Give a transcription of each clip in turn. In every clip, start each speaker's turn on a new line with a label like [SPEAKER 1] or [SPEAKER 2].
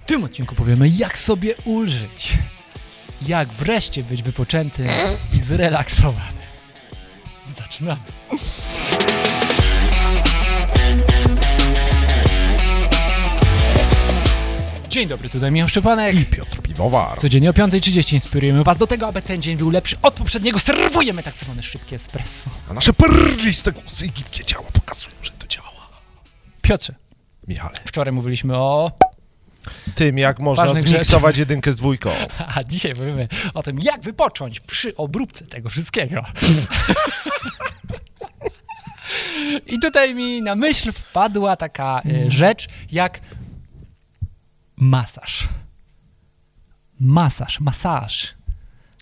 [SPEAKER 1] tym odcinku powiemy, jak sobie ulżyć. Jak wreszcie być wypoczętym i zrelaksowany. Zaczynamy. Dzień dobry, tutaj Michał Szczepanek.
[SPEAKER 2] i Piotr Piwowar.
[SPEAKER 1] Codziennie o 5.30 inspirujemy Was do tego, aby ten dzień był lepszy od poprzedniego. Serwujemy tak zwane szybkie espresso.
[SPEAKER 2] A nasze perliste głosy i gibkie ciała pokazują, że to działa.
[SPEAKER 1] Piotrze,
[SPEAKER 2] Michale,
[SPEAKER 1] wczoraj mówiliśmy o...
[SPEAKER 2] tym jak można
[SPEAKER 1] Ważnych
[SPEAKER 2] zmiksować jedynkę z dwójką.
[SPEAKER 1] A dzisiaj powiemy o tym, jak wypocząć przy obróbce tego wszystkiego. I tutaj mi na myśl wpadła taka
[SPEAKER 2] Mhm.
[SPEAKER 1] e, rzecz, jak masaż. Masaż, masaż,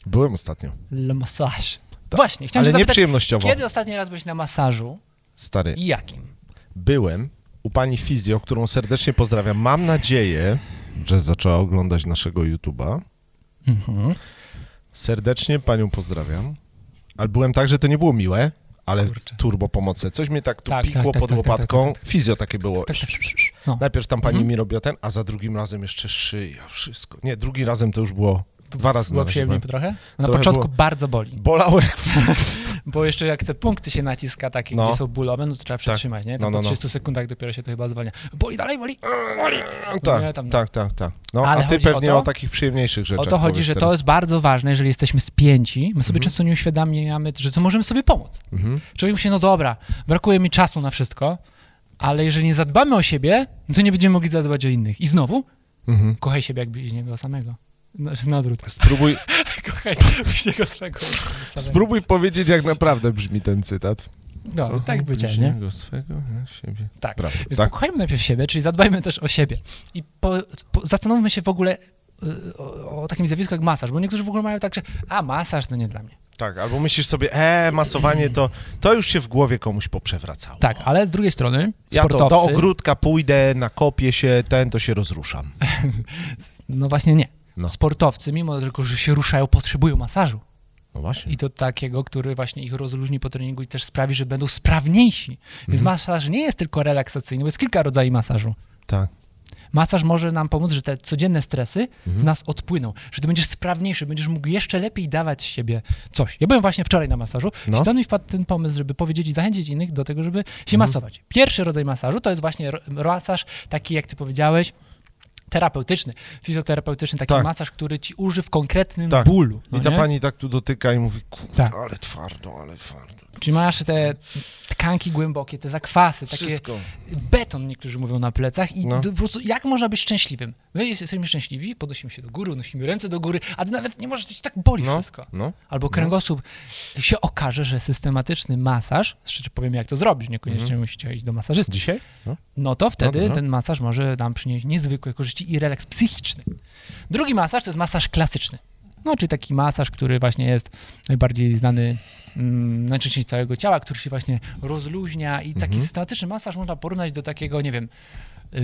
[SPEAKER 2] Byłem ostatnio.
[SPEAKER 1] le masaż. Właśnie, chciałem
[SPEAKER 2] Tak, ale
[SPEAKER 1] się
[SPEAKER 2] nie
[SPEAKER 1] zapytać,
[SPEAKER 2] przyjemnościowo.
[SPEAKER 1] kiedy ostatni raz byłeś na masażu
[SPEAKER 2] Stary,
[SPEAKER 1] i jakim?
[SPEAKER 2] byłem u pani fizjo, którą serdecznie pozdrawiam. Mam nadzieję, że zaczęła oglądać naszego YouTube'a.
[SPEAKER 1] Mhm.
[SPEAKER 2] Serdecznie panią pozdrawiam. Ale byłem tak, że to nie było miłe, ale
[SPEAKER 1] Kurczę.
[SPEAKER 2] turbo pomocne. Coś mnie tak tu
[SPEAKER 1] Tak, tak,
[SPEAKER 2] pikło
[SPEAKER 1] tak,
[SPEAKER 2] pod
[SPEAKER 1] tak, tak,
[SPEAKER 2] łopatką.
[SPEAKER 1] tak, tak,
[SPEAKER 2] Fizjo takie było.
[SPEAKER 1] Tak, tak, tak, tak, tak. No.
[SPEAKER 2] Najpierw tam pani mi robiła ten, a za drugim razem jeszcze szyja, wszystko. Nie, drugi razem to już było dwa razy
[SPEAKER 1] Było
[SPEAKER 2] na razie
[SPEAKER 1] przyjemnie
[SPEAKER 2] byłem.
[SPEAKER 1] trochę? Na
[SPEAKER 2] Trochę
[SPEAKER 1] początku
[SPEAKER 2] było.
[SPEAKER 1] bardzo boli,
[SPEAKER 2] Bolało jak fuks.
[SPEAKER 1] bo jeszcze jak te punkty się naciska takie,
[SPEAKER 2] No.
[SPEAKER 1] gdzie są bólowe, no to trzeba przetrzymać, nie? Tam
[SPEAKER 2] No, no,
[SPEAKER 1] po
[SPEAKER 2] no. Mm.
[SPEAKER 1] 30 sekundach dopiero się to chyba zwalnia. Boli dalej, boli! No Nie,
[SPEAKER 2] tak,
[SPEAKER 1] tam-
[SPEAKER 2] tak, tak, tak. No,
[SPEAKER 1] Ale
[SPEAKER 2] a ty
[SPEAKER 1] chodzi o
[SPEAKER 2] pewnie
[SPEAKER 1] to-
[SPEAKER 2] o, takich przyjemniejszych
[SPEAKER 1] O
[SPEAKER 2] rzeczach
[SPEAKER 1] to chodzi,
[SPEAKER 2] powiesz
[SPEAKER 1] że to
[SPEAKER 2] Tak, teraz. Mhm.
[SPEAKER 1] jest bardzo ważne, jeżeli jesteśmy spięci, my sobie często nie uświadamiamy, że co możemy sobie pomóc. Człowiek myśli, no dobra, brakuje mi czasu na wszystko, ale jeżeli nie zadbamy o siebie, no to nie będziemy mogli zadbać o innych. I znowu,
[SPEAKER 2] Mhm.
[SPEAKER 1] kochaj siebie jak bliźniego samego. Znaczy na odwrót.
[SPEAKER 2] Spróbuj,
[SPEAKER 1] Kochaj bliźniego swego. samego.
[SPEAKER 2] spróbuj powiedzieć, jak naprawdę brzmi ten cytat.
[SPEAKER 1] No, tak
[SPEAKER 2] Kochaj
[SPEAKER 1] będzie, nie?
[SPEAKER 2] bliźniego swego, jak siebie.
[SPEAKER 1] Tak.
[SPEAKER 2] Brawo,
[SPEAKER 1] Więc
[SPEAKER 2] tak.
[SPEAKER 1] pokochajmy najpierw siebie, czyli zadbajmy też o siebie. I po, po, zastanówmy się w ogóle y, o, o takim zjawisku jak masaż, bo niektórzy w ogóle mają tak, że a, masaż to nie dla mnie.
[SPEAKER 2] tak, albo myślisz sobie, e, masowanie to, to już się w głowie komuś poprzewracało.
[SPEAKER 1] Tak, ale z drugiej strony
[SPEAKER 2] Ja to
[SPEAKER 1] sportowcy...
[SPEAKER 2] do ogródka pójdę, nakopię się, ten to się rozruszam.
[SPEAKER 1] No właśnie nie.
[SPEAKER 2] No.
[SPEAKER 1] Sportowcy, mimo tylko, że się ruszają, potrzebują masażu.
[SPEAKER 2] No właśnie.
[SPEAKER 1] I to takiego, który właśnie ich rozluźni po treningu i też sprawi, że będą sprawniejsi. Więc
[SPEAKER 2] Mhm.
[SPEAKER 1] masaż nie jest tylko relaksacyjny, bo jest kilka rodzajów masażu.
[SPEAKER 2] Tak.
[SPEAKER 1] Masaż może nam pomóc, że te codzienne stresy
[SPEAKER 2] Mhm.
[SPEAKER 1] z nas odpłyną, że ty będziesz sprawniejszy, będziesz mógł jeszcze lepiej dawać z siebie coś. Ja byłem właśnie wczoraj na masażu
[SPEAKER 2] No.
[SPEAKER 1] i
[SPEAKER 2] Mhm.
[SPEAKER 1] stąd mi wpadł ten pomysł, żeby powiedzieć i zachęcić innych do tego, żeby się masować. Pierwszy rodzaj masażu to jest właśnie ro- masaż taki, jak ty powiedziałeś, terapeutyczny, fizjoterapeutyczny, taki
[SPEAKER 2] Tak.
[SPEAKER 1] masaż, który ci uży w konkretnym
[SPEAKER 2] Tak.
[SPEAKER 1] bólu. No
[SPEAKER 2] I ta
[SPEAKER 1] nie?
[SPEAKER 2] pani tak tu dotyka i mówi, kurde,
[SPEAKER 1] Tak.
[SPEAKER 2] ale twardo, ale twardo.
[SPEAKER 1] Czy masz te tkanki głębokie, te zakwasy, takie
[SPEAKER 2] Wszystko.
[SPEAKER 1] beton, niektórzy mówią, na plecach i
[SPEAKER 2] No.
[SPEAKER 1] d- po prostu jak można być szczęśliwym? My jest- jesteśmy szczęśliwi, podnosimy się do góry, unosimy ręce do góry, a ty nawet nie możesz, to ci tak boli
[SPEAKER 2] No,
[SPEAKER 1] wszystko.
[SPEAKER 2] no.
[SPEAKER 1] Albo kręgosłup. Się okaże, że systematyczny masaż, szczerze powiem, jak to zrobić, niekoniecznie
[SPEAKER 2] Mhm.
[SPEAKER 1] musicie iść do masażysty,
[SPEAKER 2] Dzisiaj? No.
[SPEAKER 1] no to wtedy
[SPEAKER 2] dobra.
[SPEAKER 1] ten masaż może nam przynieść niezwykłe korzyści i relaks psychiczny. Drugi masaż to jest masaż klasyczny. No, czyli taki masaż, który właśnie jest najbardziej znany mm, najczęściej całego ciała, który się właśnie rozluźnia i
[SPEAKER 2] Mhm.
[SPEAKER 1] taki systematyczny masaż można porównać do takiego, nie wiem, yy,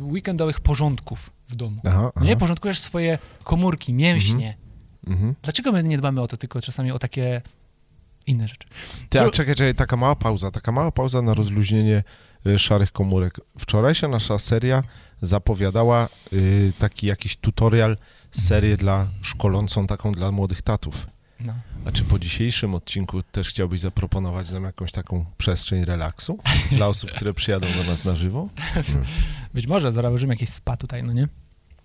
[SPEAKER 1] weekendowych porządków w domu.
[SPEAKER 2] Aha,
[SPEAKER 1] Nie,
[SPEAKER 2] aha.
[SPEAKER 1] porządkujesz swoje komórki, mięśnie.
[SPEAKER 2] Mhm.
[SPEAKER 1] Dlaczego my nie dbamy o to, tylko czasami o takie inne rzeczy?
[SPEAKER 2] Ty, a
[SPEAKER 1] Dru-
[SPEAKER 2] czekaj, czekaj, taka mała pauza, taka mała pauza na rozluźnienie y, szarych komórek. Wczorajsza nasza seria zapowiadała y, taki jakiś tutorial, serię dla szkolącą, taką dla młodych tatów.
[SPEAKER 1] No.
[SPEAKER 2] A czy po dzisiejszym odcinku też chciałbyś zaproponować nam jakąś taką przestrzeń relaksu dla osób, które przyjadą do nas na żywo?
[SPEAKER 1] Być może zarobimy jakieś spa tutaj, no nie?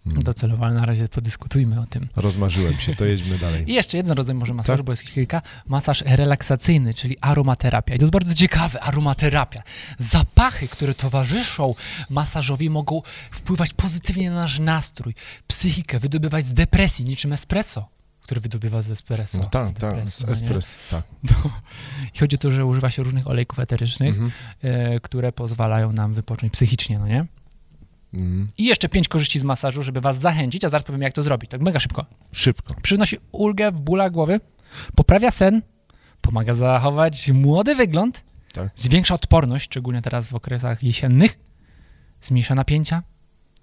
[SPEAKER 2] Mhm.
[SPEAKER 1] Docelowo, ale na razie podyskutujmy o tym.
[SPEAKER 2] Hmm. Rozmarzyłem się, to jedźmy dalej.
[SPEAKER 1] I jeszcze jeden rodzaj może
[SPEAKER 2] Tak.
[SPEAKER 1] masażu, bo jest ich kilka. Masaż relaksacyjny, czyli aromaterapia. I to jest bardzo ciekawe, aromaterapia. Zapachy, które towarzyszą masażowi mogą wpływać pozytywnie na nasz nastrój, psychikę, wydobywać z depresji, niczym espresso, który wydobywa z espresso.
[SPEAKER 2] No tak,
[SPEAKER 1] z
[SPEAKER 2] tak,
[SPEAKER 1] depresji, no nie?
[SPEAKER 2] espres, tak.
[SPEAKER 1] I chodzi o to, że używa się różnych olejków eterycznych,
[SPEAKER 2] Mhm.
[SPEAKER 1] e, które pozwalają nam wypocząć psychicznie, no nie?
[SPEAKER 2] Mhm.
[SPEAKER 1] I jeszcze pięć korzyści z masażu, żeby was zachęcić, a zaraz powiem, jak to zrobić. Tak mega szybko.
[SPEAKER 2] Szybko.
[SPEAKER 1] przynosi ulgę w bólach głowy, poprawia sen, pomaga zachować młody wygląd,
[SPEAKER 2] Tak.
[SPEAKER 1] zwiększa odporność, szczególnie teraz w okresach jesiennych, zmniejsza napięcia,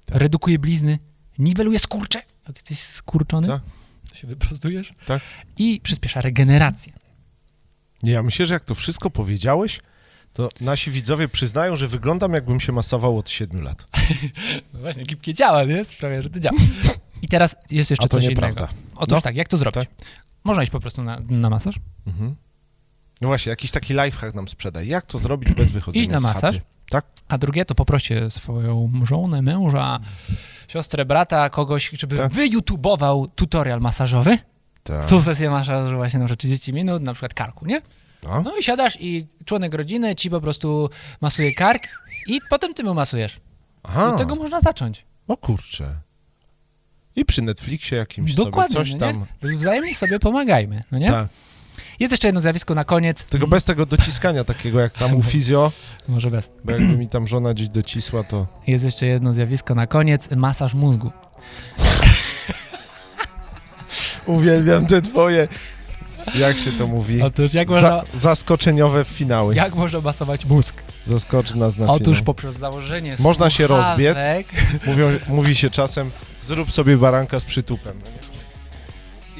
[SPEAKER 2] Tak.
[SPEAKER 1] redukuje blizny, niweluje skurcze, jak jesteś skurczony,
[SPEAKER 2] Tak.
[SPEAKER 1] to się wyprostujesz,
[SPEAKER 2] Tak.
[SPEAKER 1] i przyspiesza regenerację.
[SPEAKER 2] Nie, ja myślę, że jak to wszystko powiedziałeś, to nasi widzowie przyznają, że wyglądam jakbym się masował od 7 lat.
[SPEAKER 1] No właśnie, gipkie działa, nie? Sprawia, że to działa. I teraz jest jeszcze
[SPEAKER 2] A to
[SPEAKER 1] coś
[SPEAKER 2] nieprawda.
[SPEAKER 1] innego. Otóż
[SPEAKER 2] No.
[SPEAKER 1] tak, jak to zrobić? Można iść po prostu na, na masaż,
[SPEAKER 2] Mhm. No właśnie, jakiś taki lifehack nam sprzedaj. Jak to zrobić bez wychodzenia
[SPEAKER 1] Idź na
[SPEAKER 2] z
[SPEAKER 1] masaż.
[SPEAKER 2] chaty? Tak?
[SPEAKER 1] a drugie to poproście swoją żonę, męża, siostrę, brata, kogoś, żeby
[SPEAKER 2] Tak.
[SPEAKER 1] wyjutubował tutorial masażowy,
[SPEAKER 2] Tak.
[SPEAKER 1] sukcesję masażu właśnie na przykład 30 minut, na przykład karku, nie?
[SPEAKER 2] No.
[SPEAKER 1] No i siadasz i członek rodziny ci po prostu masuje kark i potem ty mu masujesz.
[SPEAKER 2] Aha,
[SPEAKER 1] Od tego można zacząć.
[SPEAKER 2] o kurczę. I przy Netflixie jakimś
[SPEAKER 1] Dokładnie,
[SPEAKER 2] sobie
[SPEAKER 1] no
[SPEAKER 2] coś
[SPEAKER 1] nie?
[SPEAKER 2] tam.
[SPEAKER 1] Wzajemnie sobie pomagajmy, no nie? Mhm.
[SPEAKER 2] Tak.
[SPEAKER 1] Jest jeszcze jedno zjawisko na koniec,
[SPEAKER 2] Tylko bez tego dociskania takiego jak tam u fizjo,
[SPEAKER 1] może bez.
[SPEAKER 2] bo jakby mi tam żona gdzieś docisła, to...
[SPEAKER 1] Jest jeszcze jedno zjawisko na koniec, masaż mózgu.
[SPEAKER 2] Uwielbiam te twoje... Jak się to mówi?
[SPEAKER 1] Otóż jak
[SPEAKER 2] Za,
[SPEAKER 1] można,
[SPEAKER 2] zaskoczeniowe finały.
[SPEAKER 1] jak można masować mózg?
[SPEAKER 2] Zaskocz nas na
[SPEAKER 1] Otóż
[SPEAKER 2] finał.
[SPEAKER 1] poprzez założenie
[SPEAKER 2] Znaczy, no. Można się
[SPEAKER 1] słuchawek-
[SPEAKER 2] Mówią, mówi się czasem, zrób sobie baranka z przytupem. no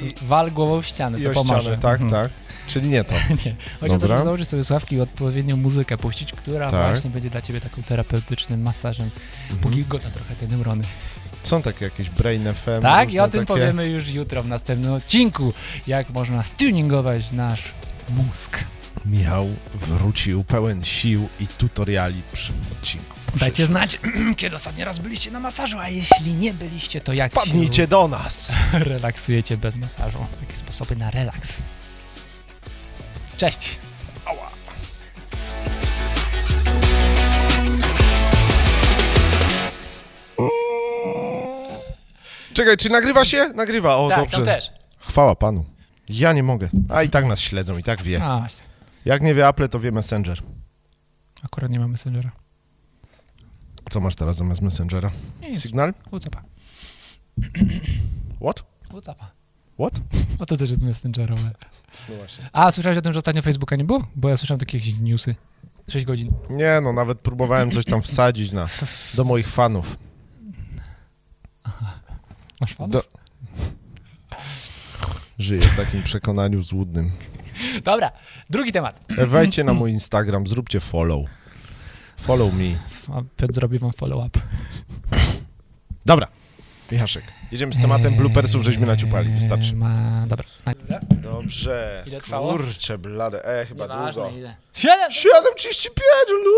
[SPEAKER 2] nie?
[SPEAKER 1] Wal głową w ścianę,
[SPEAKER 2] I
[SPEAKER 1] No to
[SPEAKER 2] o
[SPEAKER 1] pomoże.
[SPEAKER 2] ścianę, tak,
[SPEAKER 1] Mhm.
[SPEAKER 2] tak. Czyli nie to.
[SPEAKER 1] Nie. Chodzi o to,
[SPEAKER 2] Dobra.
[SPEAKER 1] żeby założyć sobie słuchawki i odpowiednią muzykę puścić, która
[SPEAKER 2] Tak. Mhm.
[SPEAKER 1] właśnie będzie dla ciebie taką terapeutycznym masażem. Póki gota trochę te neurony.
[SPEAKER 2] Są takie jakieś brain FM.
[SPEAKER 1] tak, i
[SPEAKER 2] różne
[SPEAKER 1] o tym
[SPEAKER 2] takie...
[SPEAKER 1] powiemy już jutro w następnym odcinku, jak można stuningować nasz mózg.
[SPEAKER 2] Michał wrócił pełen sił i tutoriali przy odcinku.
[SPEAKER 1] Dajcie znać, kiedy ostatni raz byliście na masażu, a jeśli nie byliście, to jak
[SPEAKER 2] Padnijcie do nas!
[SPEAKER 1] się relaksujecie bez masażu. Jakie sposoby na relaks. Cześć!
[SPEAKER 2] Czekaj, czy nagrywa się? Nagrywa, o
[SPEAKER 1] tak,
[SPEAKER 2] dobrze.
[SPEAKER 1] tam też.
[SPEAKER 2] Chwała panu. Ja nie mogę. A i tak nas śledzą, i tak wie.
[SPEAKER 1] A, właśnie.
[SPEAKER 2] Jak nie wie Apple, to wie Messenger.
[SPEAKER 1] Akurat nie mamy Messengera.
[SPEAKER 2] Co masz teraz zamiast Messengera?
[SPEAKER 1] Nic,
[SPEAKER 2] Signal?
[SPEAKER 1] ucapa.
[SPEAKER 2] What?
[SPEAKER 1] Ucapa.
[SPEAKER 2] What?
[SPEAKER 1] O to też jest Messengerowe.
[SPEAKER 2] No właśnie.
[SPEAKER 1] A, słyszałeś o tym, że ostatnio Facebooka nie było? Bo ja słyszałem takie jakieś newsy. 6 godzin.
[SPEAKER 2] Nie no, nawet próbowałem coś tam wsadzić na, do moich fanów.
[SPEAKER 1] Masz fan?
[SPEAKER 2] Do... Żyję w takim przekonaniu złudnym. E,
[SPEAKER 1] Dobra, drugi temat.
[SPEAKER 2] Wejdźcie na mój Instagram, zróbcie follow. Follow me.
[SPEAKER 1] A Piotr zrobi wam follow-up.
[SPEAKER 2] Dobra, Michaszek, jedziemy z tematem bloopersów, żeśmy naciupali, wystarczy.
[SPEAKER 1] Eee, Ma... Dobra.
[SPEAKER 2] Dobrze,
[SPEAKER 1] Ile trwało?
[SPEAKER 2] kurczę blade, e, chyba długo.
[SPEAKER 1] ile. Siedem!
[SPEAKER 2] 7.35, lu!